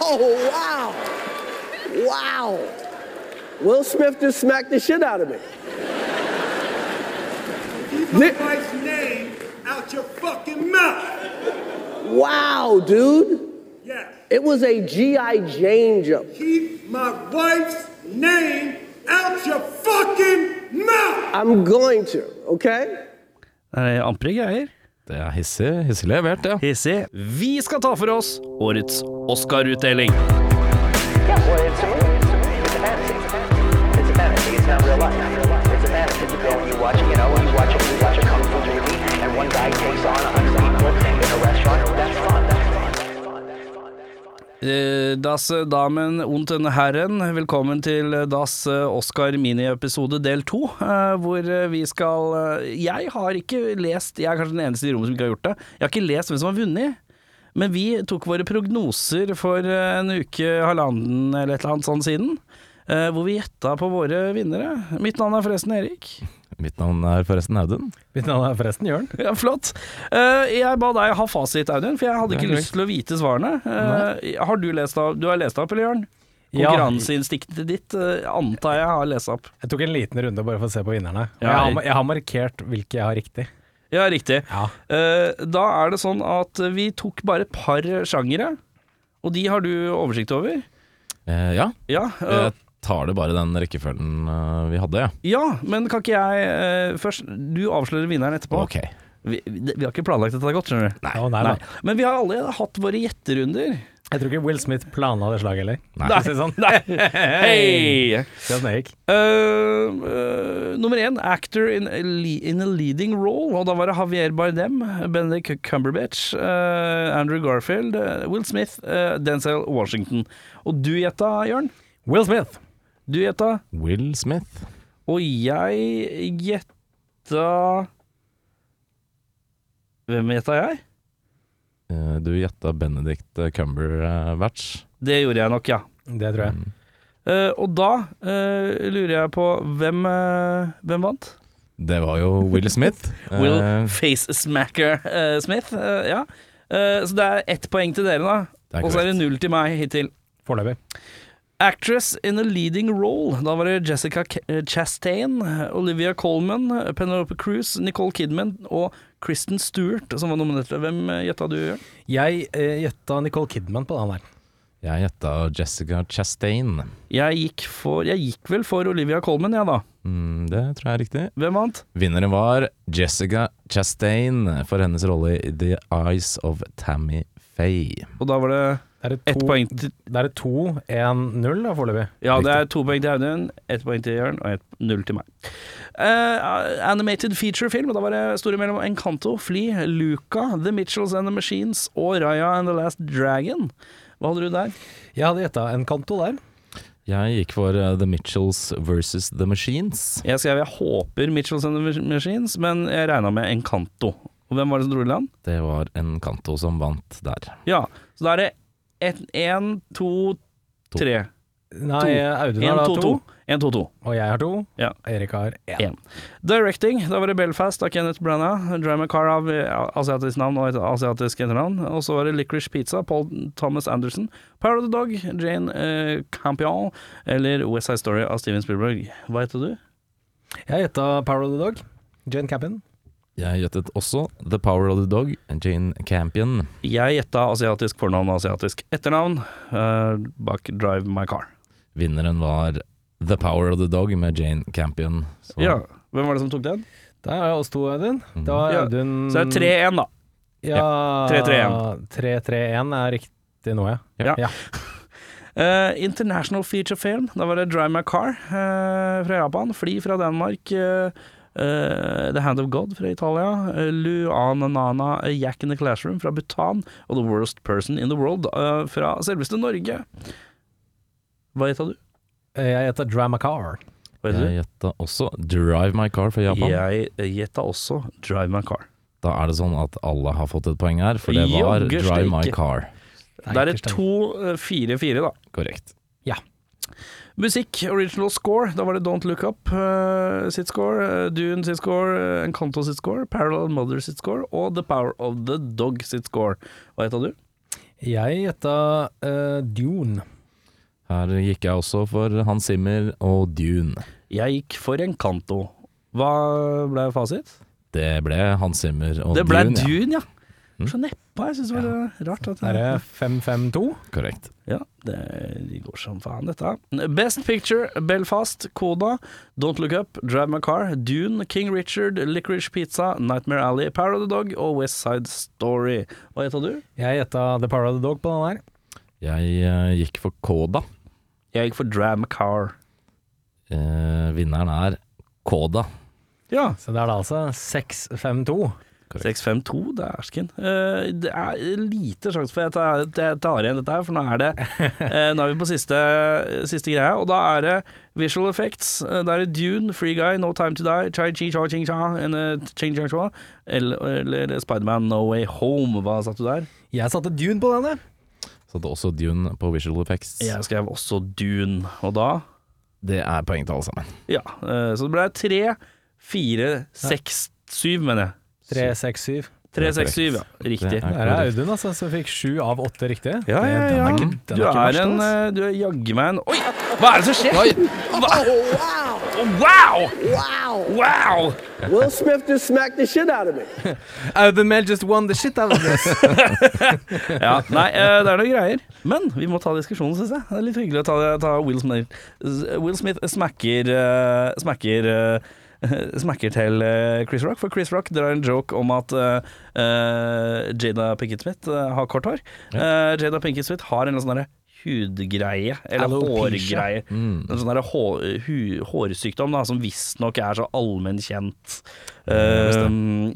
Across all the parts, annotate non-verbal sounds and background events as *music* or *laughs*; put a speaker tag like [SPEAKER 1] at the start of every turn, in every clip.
[SPEAKER 1] oh, wow. Wow. Will Smith just smacked the shit out of me.
[SPEAKER 2] Keep
[SPEAKER 1] Nick-
[SPEAKER 2] my wife's name out your fucking mouth.
[SPEAKER 1] Wow, dude.
[SPEAKER 2] Yes.
[SPEAKER 1] It was a G.I. Jane jump.
[SPEAKER 2] Keep my wife's name out your fucking mouth.
[SPEAKER 1] I'm going to, okay?
[SPEAKER 3] Det er ampre greier.
[SPEAKER 4] Det er hissig, hissig levert, ja.
[SPEAKER 3] Hissig. Vi skal ta for oss årets Oscar-utdeling.
[SPEAKER 5] Yeah, well, it's a movie. It's a fantasy. It's a fantasy. It's not real life. It's a fantasy. You go and you watch, you know, you watch a, you watch a kung fu movie, and one guy takes on a hundred people in a restaurant. That's fun. That's fun. That's fun. That's fun.
[SPEAKER 3] Eh, Das Damen und Herren, velkommen til eh, Das Oscar miniepisode del to, eh, hvor eh, vi skal eh, Jeg har ikke lest, jeg er kanskje den eneste i rommet som ikke har gjort det, jeg har ikke lest hvem som har vunnet. Men vi tok våre prognoser for eh, en uke, halvannen eller et eller annet sånn siden, eh, hvor vi gjetta på våre vinnere. Mitt navn er forresten Erik.
[SPEAKER 4] Mitt navn er forresten Audun.
[SPEAKER 6] Mitt navn er forresten Jørn.
[SPEAKER 3] *laughs* Ja, flott. Eh, jeg ba deg ha fasit, Audun, for jeg hadde ikke
[SPEAKER 4] Ja,
[SPEAKER 3] lyst til å vite svarene. Eh, har du lest av Du har lest opp, eller Jørn?
[SPEAKER 6] Ja.
[SPEAKER 3] Konkurranseinstinktet ditt eh, antar jeg har lest opp.
[SPEAKER 6] Jeg tok en liten runde bare for å se på vinnerne. Og
[SPEAKER 3] Ja.
[SPEAKER 6] Jeg, har, jeg har markert hvilke jeg har riktig.
[SPEAKER 3] Ja, riktig.
[SPEAKER 6] Ja.
[SPEAKER 3] Eh, da er det sånn at vi tok bare et par sjangere, og de har du oversikt over.
[SPEAKER 4] Eh, ja,
[SPEAKER 3] Ja, eh,
[SPEAKER 4] jeg tar det bare den rekkefølgen eh, vi hadde, ja.
[SPEAKER 3] ja men kan ikke jeg eh, først Du avslører vinneren etterpå.
[SPEAKER 4] Ok.
[SPEAKER 3] Vi, vi har ikke planlagt dette godt, skjønner du.
[SPEAKER 6] Å, nei,
[SPEAKER 3] Nei.
[SPEAKER 6] da.
[SPEAKER 3] Men vi har allerede hatt våre gjetterunder.
[SPEAKER 6] Jeg tror ikke Will Smith planla det slaget heller.
[SPEAKER 4] Nei.
[SPEAKER 6] For å si det Sånn. *laughs*
[SPEAKER 3] Hei!
[SPEAKER 6] Se hvordan det gikk.
[SPEAKER 3] Eh, eh, nummer én, actor in a, le in a leading role. Og da var det Javier Bardem, Benedict Cumberbatch, eh, Andrew Garfield, eh, Will Smith, eh, Denzel Washington. Og du gjetta, Jørn.
[SPEAKER 6] Will Smith.
[SPEAKER 3] Du gjetta.
[SPEAKER 4] Will Smith.
[SPEAKER 3] Og jeg gjetta Hvem gjetta jeg?
[SPEAKER 4] Eh, du gjetta Benedict Cumberbatch.
[SPEAKER 3] Det gjorde jeg nok, ja.
[SPEAKER 6] Det tror jeg.
[SPEAKER 3] Eh, og da eh, lurer jeg på hvem, eh, hvem vant?
[SPEAKER 4] Det var jo *laughs* Will Smith.
[SPEAKER 3] Will
[SPEAKER 4] Eh,
[SPEAKER 3] Face Smacker eh, Smith. eh, ja. Eh, så det er ett poeng til dere,
[SPEAKER 4] Det
[SPEAKER 3] da.
[SPEAKER 4] er
[SPEAKER 3] Og så er det null til meg hittil.
[SPEAKER 6] Foreløpig.
[SPEAKER 3] Actress in a leading role. Da var det Jessica K eh, Chastain, Olivia Colman, Penelope Cruz, Nicole Kidman og Kristen Stewart som var nominert. Hvem eh, gjetta du, Jørn?
[SPEAKER 6] Jeg eh, gjetta Nicole Kidman på den der.
[SPEAKER 4] jeg gjetta Jessica Chastain.
[SPEAKER 3] Jeg gikk, for, jeg gikk vel for Olivia Colman, jeg, ja, da.
[SPEAKER 4] Mm, det tror jeg er riktig.
[SPEAKER 3] Hvem vant?
[SPEAKER 4] Vinneren var Jessica Chastain for hennes rolle i The Eyes of Tammy Faye.
[SPEAKER 3] Og da var det
[SPEAKER 6] Der er det
[SPEAKER 3] ett
[SPEAKER 6] to-
[SPEAKER 3] poeng til
[SPEAKER 6] Der er det 2-1-0 da, foreløpig.
[SPEAKER 3] Ja, det er to poeng til Audun, ett poeng til Jørn og ett null til meg. Eh, animated feature-film, og da var det store mellom Encanto, Fly, Luca, The Mitchells and the Machines og Raya and the Last Dragon. Hva hadde du der?
[SPEAKER 6] Jeg hadde gjetta en kanto der.
[SPEAKER 4] Jeg gikk for eh, The Mitchells versus The Machines.
[SPEAKER 3] Jeg skrev jeg håper Mitchells and the Machines, men jeg regna med Encanto. Og hvem var det som dro i land?
[SPEAKER 4] Det var en kanto som vant der.
[SPEAKER 3] Ja, så da er det én, to,
[SPEAKER 4] To.
[SPEAKER 3] tre.
[SPEAKER 6] Nei, eh, Audun
[SPEAKER 3] Én,
[SPEAKER 6] har da
[SPEAKER 3] to, to.
[SPEAKER 6] to.
[SPEAKER 3] En, to, to.
[SPEAKER 6] Og jeg har to.
[SPEAKER 3] Ja.
[SPEAKER 6] Erik har én.
[SPEAKER 3] En. Directing, da var det Belfast av Kenneth Branagh, Drama Car av eh, asiatisk navn og et asiatisk etternavn, og så var det Licorice Pizza, Paul Thomas Anderson, Power of the Dog, Jane eh, Campion, eller West Side Story av Steven Spielberg. Hva heter du?
[SPEAKER 6] Jeg gjetta Power of the Dog. Jane Campion.
[SPEAKER 4] Jeg gjettet også The Power of the Dog, Jane Campion.
[SPEAKER 3] Jeg gjetta asiatisk fornavn og asiatisk etternavn eh, bak Drive My Car.
[SPEAKER 4] Vinneren var The Power of the Dog med Jane Campion. Så
[SPEAKER 3] Ja, Hvem var det som tok den?
[SPEAKER 6] Der er oss to, Audun. Da var
[SPEAKER 3] Ja.
[SPEAKER 6] Audun
[SPEAKER 3] Så det er 3-1, da.
[SPEAKER 6] Ja.
[SPEAKER 3] 3-3-1.
[SPEAKER 6] 3-3-1 er riktig nå, ja.
[SPEAKER 3] Ja. Eh, international feature film, da var det Drive My Car eh, fra Japan, Fly fra Danmark, eh, eh, The Hand of God fra Italia, eh, Luananana eh, Jack in the Classroom fra Bhutan, og The Worst Person in the World eh, fra selveste Norge. Hva gjetta du?
[SPEAKER 6] Eh, Jeg heter Drama Car.
[SPEAKER 3] Hva
[SPEAKER 4] Jeg
[SPEAKER 3] heter du?
[SPEAKER 4] gjetta også Drive My Car fra Japan.
[SPEAKER 3] Jeg gjetta også Drive My Car.
[SPEAKER 4] Da er det sånn at alle har fått et poeng her, for det var
[SPEAKER 3] Jogger
[SPEAKER 4] Drive My
[SPEAKER 3] steike.
[SPEAKER 4] Car.
[SPEAKER 3] Da er det 2-4-4, da.
[SPEAKER 4] Korrekt.
[SPEAKER 3] Musikk, original score. Da var det Don't Look Up eh, sitt score, eh, Dune sitt score, eh, Encanto sitt score, Parallel Mother sitt score og The Power of the Dog sitt score. Hva heter du?
[SPEAKER 6] Jeg gjetta eh, Dune.
[SPEAKER 4] Her gikk jeg også for Hans Zimmer og Dune.
[SPEAKER 3] Jeg gikk for Encanto. Hva ble fasit?
[SPEAKER 4] Det ble Hans Zimmer og
[SPEAKER 3] Det ble
[SPEAKER 4] Dune. ja.
[SPEAKER 3] Dune, ja. Så neppa. Jeg syns det var eh, rart. At
[SPEAKER 6] Er det 552?
[SPEAKER 4] Korrekt.
[SPEAKER 3] Ja, det de går som faen, dette. Best Picture, Belfast, Koda, Don't Look Up, Drive My Car, Dune, King Richard, Licorice Pizza, Nightmare Alley, Power of the Dog og West Side Story. Hva gjetta du?
[SPEAKER 6] Jeg gjetta The Power of the Dog på den her.
[SPEAKER 4] Jeg eh, gikk for Koda.
[SPEAKER 3] Jeg gikk for Drive My Car.
[SPEAKER 4] Eh, vinneren er Koda.
[SPEAKER 3] Ja.
[SPEAKER 6] Så det er da altså 652.
[SPEAKER 3] 652, det er æsken. Eh, det er lite sjanse for at jeg tar, at jeg tar igjen dette her, for nå *laughs* er det eh, Nå er vi på siste, siste greia, og da er det visual effects. Eh, Da er det Dune, Free Guy, No Time To Die, Chai Chi Cha Ching Cha, and, eh, Ching Chang Cha, eller, eller Spiderman No Way Home. Hva satt du der?
[SPEAKER 6] Jeg satte Dune på denne.
[SPEAKER 4] Så det er også Dune på visual effects.
[SPEAKER 3] Jeg skrev også Dune, og da
[SPEAKER 4] Det er poeng til alle sammen.
[SPEAKER 3] Ja. eh, Så det ble tre, fire, seks, syv, mener jeg.
[SPEAKER 6] 367.
[SPEAKER 3] Tre, seks, syv, ja. Riktig.
[SPEAKER 4] Det er
[SPEAKER 6] Der er
[SPEAKER 4] korrekt.
[SPEAKER 6] Audun, altså, som fikk sju av åtte riktige.
[SPEAKER 3] Ja,
[SPEAKER 6] Det-
[SPEAKER 3] ja,
[SPEAKER 6] den
[SPEAKER 3] ja.
[SPEAKER 6] er ikke- den
[SPEAKER 3] Du
[SPEAKER 6] ikke
[SPEAKER 3] er
[SPEAKER 6] verst,
[SPEAKER 3] en
[SPEAKER 6] altså.
[SPEAKER 3] eh, Du er jaggu meg en Oi! Hva er det som skjer?
[SPEAKER 1] Oh,
[SPEAKER 3] Wow!
[SPEAKER 1] wow. Wow.
[SPEAKER 3] Wow!
[SPEAKER 1] Will Smith just smacked the shit out of me.
[SPEAKER 6] eh, Audun Mel just won the shit out of this.
[SPEAKER 3] Ja, nei, eh, det er noen greier. Men vi må ta diskusjonen, syns jeg. Det er litt hyggelig å ta, ta Will Smith Will Smith smakker eh, Smakker eh, *laughs* Smakker til eh, Chris Rock, for Chris Rock drar en joke om at eh, eh, Jada Pinkett Smith eh, har kort hår. Eh, Jada Pinkett Smith har en eller annen sånn derre hudgreie, eller
[SPEAKER 6] Alopecia.
[SPEAKER 3] hårgreie. En sånn derre hår, hu- hårsykdom da, som visstnok er så allmenn kjent. Eh,
[SPEAKER 6] *laughs*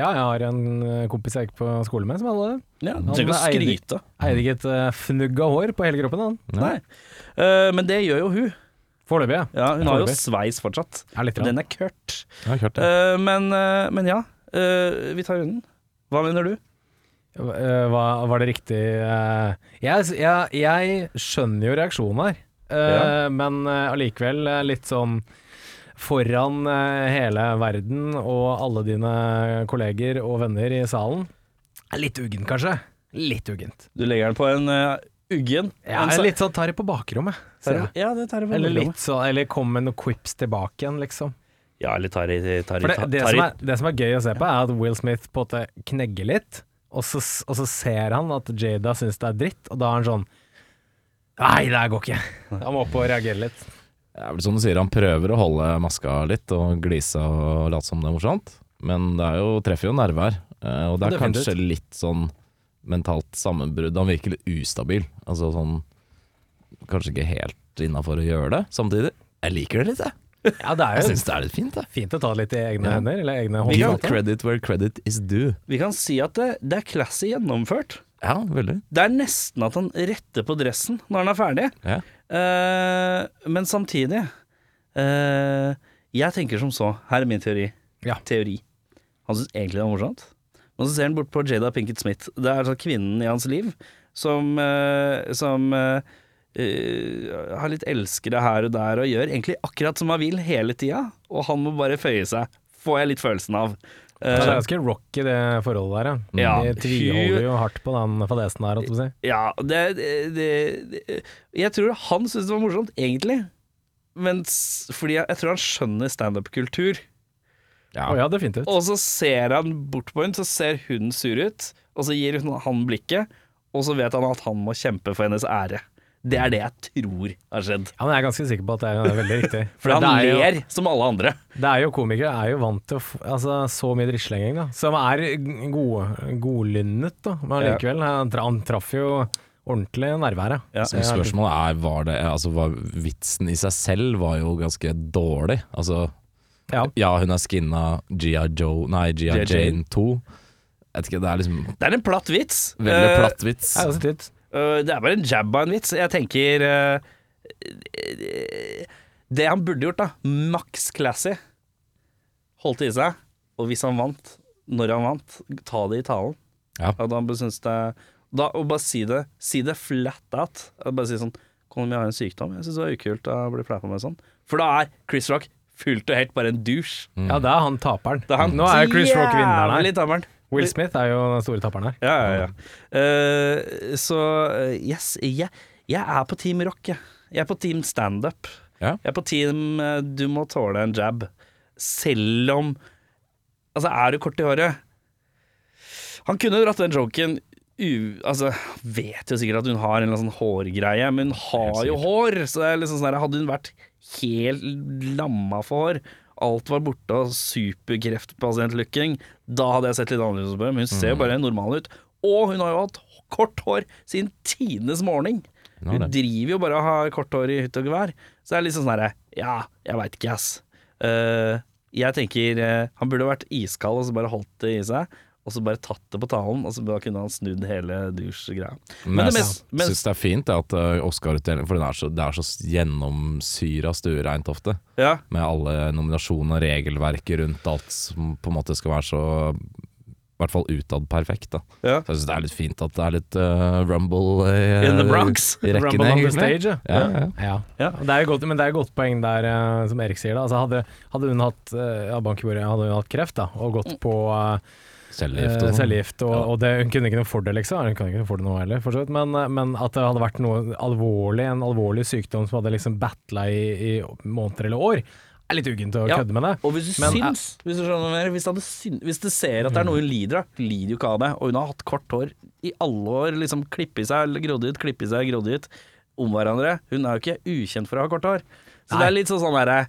[SPEAKER 6] ja, jeg har en eh, kompis jeg gikk på skole med, som hadde det.
[SPEAKER 3] Ja, du trenger ikke å
[SPEAKER 6] Han eide-
[SPEAKER 3] skryte.
[SPEAKER 6] Eide ikke et eh, fnugg av hår på hele kroppen, han.
[SPEAKER 3] Nei. Eh, men det gjør jo hun.
[SPEAKER 6] Foreløpig, ja.
[SPEAKER 3] Ja, hun har jo
[SPEAKER 6] Foreløpig.
[SPEAKER 3] sveis fortsatt.
[SPEAKER 6] Er litt
[SPEAKER 3] Og Den er kurt.
[SPEAKER 4] Jeg har hørt det.
[SPEAKER 3] Eh, men, eh, men ja, eh, vi tar runden. Hva mener du?
[SPEAKER 6] Eh, hva, var det riktig eh, jeg, jeg, jeg skjønner jo reaksjonen her, eh, men eh, allikevel eh, litt sånn Foran eh, hele verden og alle dine kolleger og venner i salen. Er Litt uggent, kanskje. Litt uggent.
[SPEAKER 3] Du legger den på en eh, uggen.
[SPEAKER 6] Ja,
[SPEAKER 3] en sa-
[SPEAKER 6] litt sånn tar det på bakrommet. ser jeg.
[SPEAKER 3] Ja, det tar jeg på
[SPEAKER 6] Eller
[SPEAKER 3] bakrommet.
[SPEAKER 6] litt sånn, eller kom med noen quips tilbake igjen, liksom.
[SPEAKER 3] Ja, eller tar i tar i-
[SPEAKER 6] For det,
[SPEAKER 3] tar-
[SPEAKER 6] det,
[SPEAKER 3] tar i-
[SPEAKER 6] som er, det som er gøy å se på, er at Will Smith på en måte knegger litt, og så, og så ser han at Jada syns det er dritt, og da er han sånn Nei, det her går ikke. Han må opp og reagere litt.
[SPEAKER 4] Det er vel som du sier, han prøver å holde maska litt og glise og late som det er morsomt, men det er jo, treffer jo nerve her. Eh, Og det er
[SPEAKER 6] Definitivt.
[SPEAKER 4] kanskje litt sånn mentalt sammenbrudd. Han virker litt ustabil. Altså sånn Kanskje ikke helt innafor å gjøre det samtidig. Jeg liker det litt, jeg.
[SPEAKER 6] Ja, det
[SPEAKER 4] Jeg
[SPEAKER 6] er jo
[SPEAKER 4] syns det er litt fint, jeg.
[SPEAKER 6] fint å ta det litt i egne
[SPEAKER 4] Ja.
[SPEAKER 6] hender, eller egne
[SPEAKER 4] Gi
[SPEAKER 6] hånder.
[SPEAKER 4] credit where credit is due.
[SPEAKER 3] Vi kan si at det, det er classy gjennomført.
[SPEAKER 4] Ja, veldig.
[SPEAKER 3] Det er nesten at han retter på dressen når han er ferdig.
[SPEAKER 4] Ja.
[SPEAKER 3] Eh, men samtidig eh, Jeg tenker som så. Her er min teori.
[SPEAKER 6] Ja.
[SPEAKER 3] teori. Han syns egentlig det var morsomt, men så ser han bort på Jada Pinkett Smith. Det er sånn kvinnen i hans liv som, eh, som eh, eh, har litt elskere her og der og gjør egentlig akkurat som han vil hele tida, og han må bare føye seg. Får jeg litt følelsen av. Eh,
[SPEAKER 6] Det er ganske rocky, det forholdet der. Ja.
[SPEAKER 3] Ja.
[SPEAKER 6] De tviholder jo hardt på den fadesen her, holdt jeg på å si.
[SPEAKER 3] Ja, det, det, det, det Jeg tror han syntes det var morsomt, egentlig. Men s- fordi jeg, jeg tror han skjønner standup-kultur.
[SPEAKER 4] Ja.
[SPEAKER 6] Å ja, det er fint ut.
[SPEAKER 3] Og så ser han bort på henne, så ser hun sur ut, og så gir hun han blikket, og så vet han at han må kjempe for hennes ære. Det er det jeg tror har skjedd.
[SPEAKER 6] Ja, men jeg er ganske sikker på at det er veldig riktig.
[SPEAKER 3] For han
[SPEAKER 6] det er jo-
[SPEAKER 3] ler som alle andre.
[SPEAKER 6] Det er jo komikere er jo vant til å få altså, så mye drittslenging, da. Som er g- gode, godlynnet, da. Men
[SPEAKER 3] Ja.
[SPEAKER 6] likevel, han tra- han traff jo ordentlig nerve her,
[SPEAKER 3] Ja.
[SPEAKER 4] Så spørsmålet er, var det Altså, var vitsen i seg selv var jo ganske dårlig. Altså
[SPEAKER 6] ja.
[SPEAKER 4] Ja, hun er skinna Gia Joe Nei, Gia
[SPEAKER 3] G.I. Jane
[SPEAKER 4] Jane 2. Jeg vet ikke, det er liksom
[SPEAKER 3] Det er en platt vits.
[SPEAKER 4] veldig
[SPEAKER 3] Eh,
[SPEAKER 4] platt vits.
[SPEAKER 6] Det er ganske tynt.
[SPEAKER 3] øh, det er bare en jab av en vits. Jeg tenker øh, Det han burde gjort, da. Maks classy. Holdt i seg. Og hvis han vant, når han vant, ta det i talen.
[SPEAKER 4] Ja.
[SPEAKER 3] At han synes det da, Og bare si det Si det flat out. At Bare si sånn Kom, jeg har en sykdom. Jeg syns det var ukult å bli flau på meg sånn. For da er Chris Rock fullt og helt bare en douche.
[SPEAKER 4] Mm.
[SPEAKER 6] Ja, det er han taperen.
[SPEAKER 3] Det er han
[SPEAKER 6] Nå Mm. er jo Chris Rock vinneren her.
[SPEAKER 3] jævlig taperen.
[SPEAKER 6] Will Smith er jo den store tapperen her.
[SPEAKER 3] Ja, ja, ja. Eh, så eh, yes, jeg, jeg er på team rock, jeg. Jeg er på team standup.
[SPEAKER 4] Ja.
[SPEAKER 3] Jeg er på team eh, du må tåle en jab. Selv om Altså, er du kort i håret Han kunne dratt den joken u, Altså, vet jo sikkert at hun har en eller annen sånn hårgreie, men hun har jo hår! Så det er liksom sånn her, hadde hun vært helt lamma for hår, alt var borte og superkreftpasientlooking, da hadde jeg sett litt annerledes på det, men hun ser jo
[SPEAKER 4] Mm.
[SPEAKER 3] bare normal ut. Og hun har jo hatt kort hår siden tidenes morgen.
[SPEAKER 4] har
[SPEAKER 3] Hun
[SPEAKER 4] det.
[SPEAKER 3] driver jo bare og har kort hår i hytt og gevær. Så det er litt sånn herre Ja, jeg veit ikke, ass. Eh, jeg tenker eh, han burde vært iskald og så bare holdt det i seg. Og så bare tatt det på talen, og så bare kunne han snudd hele dusjgreia. Men det
[SPEAKER 4] jeg
[SPEAKER 3] mest, men,
[SPEAKER 4] syns det er fint det at eh, Oscar-utdelingen For den er så, det er så gjennomsyra stuereint ofte,
[SPEAKER 3] ja,
[SPEAKER 4] med alle nominasjonene og regelverket rundt alt som på en måte skal være så i hvert fall utad perfekt. da
[SPEAKER 3] ja.
[SPEAKER 4] Så jeg syns det er litt fint at det er litt eh, rumble eh,
[SPEAKER 3] In the Bronx.
[SPEAKER 4] i rekken
[SPEAKER 6] Rumble on the
[SPEAKER 4] egentlig.
[SPEAKER 6] stage, ja.
[SPEAKER 4] Ja, ja.
[SPEAKER 6] Ja.
[SPEAKER 3] Ja.
[SPEAKER 6] Og Det er jo godt, men det er jo godt poeng der, eh, som Erik sier. da altså, hadde, hadde hun hatt eh, ja, bank i bordet, hadde hun hatt kreft da, og
[SPEAKER 3] Mm.
[SPEAKER 6] gått på eh,
[SPEAKER 4] Cellegift og
[SPEAKER 6] eh,
[SPEAKER 4] sånn.
[SPEAKER 6] cellegift, og,
[SPEAKER 4] Ja.
[SPEAKER 6] og det, hun kunne ikke noe for det, liksom. Hun kunne ikke noe for det nå heller, for så vidt. Men, eh, men at det hadde vært noe alvorlig, en alvorlig sykdom som hadde liksom battla i, i måneder eller år, er litt uggent å
[SPEAKER 3] Ja.
[SPEAKER 6] kødde med det.
[SPEAKER 3] Og hvis du
[SPEAKER 6] Men, eh,
[SPEAKER 3] syns, hvis du skjønner hva jeg mener, hvis, du hadde syn- hvis du ser at det er noe hun lider av, lider jo ikke av det. Og hun har hatt kort hår i alle år, liksom klippe i seg, grodd ut, klippe i seg, grodd ut, om hverandre. Hun er jo ikke ukjent for å ha kort hår. Så det
[SPEAKER 6] Nei.
[SPEAKER 3] er litt sånn sånn derre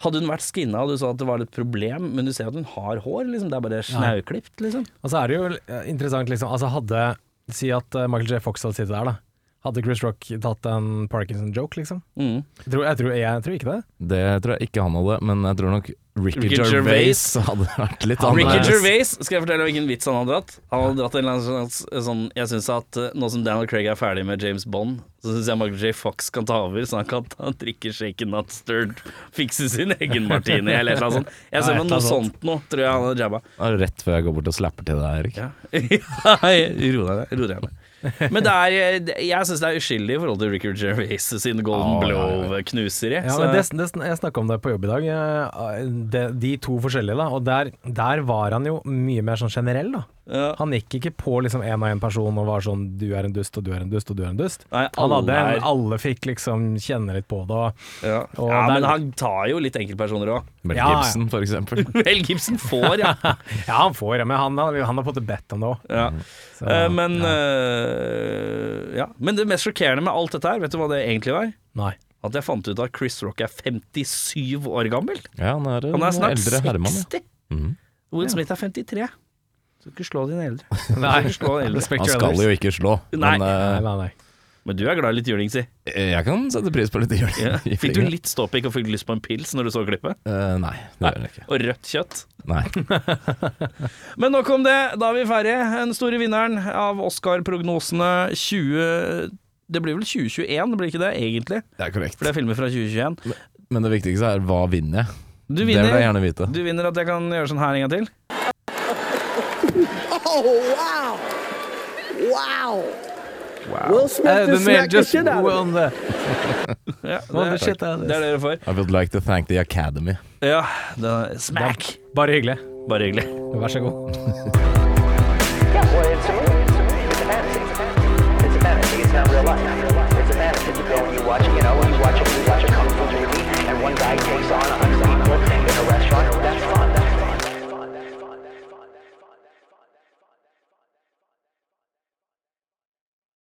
[SPEAKER 3] Hadde hun vært skinna og du så at det var et problem, men du ser at hun har hår, liksom. Det er bare snauklipt, liksom.
[SPEAKER 6] Og så er det jo eh, interessant, liksom. Altså, hadde Si at eh, Michael J. Fox hadde sittet der, da. Hadde Chris Rock tatt en Parkinson-joke, liksom?
[SPEAKER 3] Mm.
[SPEAKER 6] Jeg tror, jeg, tror, jeg tror ikke det.
[SPEAKER 4] Det tror jeg ikke han hadde, men jeg tror nok Ricky,
[SPEAKER 3] Ricky
[SPEAKER 4] Gervais,
[SPEAKER 3] Gervais.
[SPEAKER 4] hadde vært litt
[SPEAKER 3] Ricky
[SPEAKER 4] annerledes.
[SPEAKER 3] Gervais, skal jeg fortelle hvilken vits han hadde dratt? Han hadde dratt en eller annen slags sånn Jeg syns at eh, nå som Daniel Craig er ferdig med James Bond, så syns jeg Michael J. Fox kan ta over, så han kan ta, drikke shaken not stirred, fikse sin egen martini, eller et eller annet sånt. Jeg ser
[SPEAKER 6] Ja, et
[SPEAKER 3] på
[SPEAKER 6] eller
[SPEAKER 3] noe
[SPEAKER 6] annet sånt.
[SPEAKER 3] sånt noe, tror jeg han hadde jabba.
[SPEAKER 4] Det er Rett før jeg går bort og slapper til deg, Erik.
[SPEAKER 3] Ja. *laughs* Jeg- Ro deg ned. Ro deg ned. Men det er, eh, det- jeg syns det er uskyldig i forhold til Ricky Gervais sin Golden
[SPEAKER 4] Ja, ja, ja.
[SPEAKER 3] Blow-knuseri.
[SPEAKER 6] Ja,
[SPEAKER 3] så-
[SPEAKER 6] men det, det, jeg snakka om det på jobb i dag, eh, de, de to forskjellige, da. Og der, der var han jo mye mer sånn generell, da.
[SPEAKER 3] Ja.
[SPEAKER 6] Han gikk ikke på liksom én og én person og var sånn 'du er en dust, og du er en dust, og du er en dust'.
[SPEAKER 3] Nei,
[SPEAKER 6] han
[SPEAKER 3] alle
[SPEAKER 6] hadde en,
[SPEAKER 3] er-
[SPEAKER 6] alle fikk liksom kjenne litt på det. Og,
[SPEAKER 3] ja.
[SPEAKER 6] og
[SPEAKER 3] ja,
[SPEAKER 6] der-
[SPEAKER 3] men han tar jo litt enkeltpersoner òg.
[SPEAKER 4] Mel
[SPEAKER 6] Ja, ja.
[SPEAKER 4] Gibson, for eksempel.
[SPEAKER 3] Vel, Gibson får, ja.
[SPEAKER 6] ja, han får det, men han, har- han har fått det bedt om det òg.
[SPEAKER 3] Ja. Eh, men eh, ja. Men det mest sjokkerende med alt dette her, vet du hva det egentlig var? *laughs*
[SPEAKER 6] Nei.
[SPEAKER 3] At jeg fant ut at Chris Rock er 57 år gammel.
[SPEAKER 4] Ja, han er,
[SPEAKER 3] Han er
[SPEAKER 4] en
[SPEAKER 3] snart
[SPEAKER 4] eldre
[SPEAKER 3] 60.
[SPEAKER 4] herremann. Ja.
[SPEAKER 3] Will Smith er 53. Du skal ikke slå dine eldre.
[SPEAKER 6] Nei.
[SPEAKER 3] Du skal ikke slå dine eldre.
[SPEAKER 6] Respekt
[SPEAKER 4] Han
[SPEAKER 6] for
[SPEAKER 4] skal
[SPEAKER 6] elders.
[SPEAKER 4] jo ikke slå,
[SPEAKER 3] Nei.
[SPEAKER 4] men eh,
[SPEAKER 6] Nei, nei, nei.
[SPEAKER 3] Men du er glad i litt juling, si.
[SPEAKER 4] jeg kan sette pris på litt juling. *laughs*
[SPEAKER 3] Fikk du litt ståpikk og fikk lyst på en pils når du så klippet?
[SPEAKER 4] Eh, nei, det gjør jeg ikke.
[SPEAKER 3] Og rødt kjøtt? *laughs*
[SPEAKER 4] Nei.
[SPEAKER 3] Men nok om det, da er vi ferdige. Den store vinneren av Oscar-prognosene 20... Det blir vel 2021, blir ikke det, egentlig?
[SPEAKER 4] Det er korrekt.
[SPEAKER 3] For det er filmer fra 2021.
[SPEAKER 4] Men det viktigste er hva vinner jeg?
[SPEAKER 3] Du
[SPEAKER 4] Det vil jeg
[SPEAKER 3] vinner,
[SPEAKER 4] gjerne vite.
[SPEAKER 3] du vinner at jeg kan gjøre sånn her en gang til.
[SPEAKER 1] Oh, wow. Wow.
[SPEAKER 3] Wow.
[SPEAKER 1] Will Smith just smacked the shit out of me.
[SPEAKER 3] Ja,
[SPEAKER 6] Well,
[SPEAKER 3] det,
[SPEAKER 6] the shit
[SPEAKER 3] er,
[SPEAKER 6] out of
[SPEAKER 3] det er dere for.
[SPEAKER 4] I would like to thank the Academy.
[SPEAKER 3] Ja, det er smack!
[SPEAKER 6] Bare hyggelig.
[SPEAKER 3] Bare hyggelig.
[SPEAKER 6] Vær så god.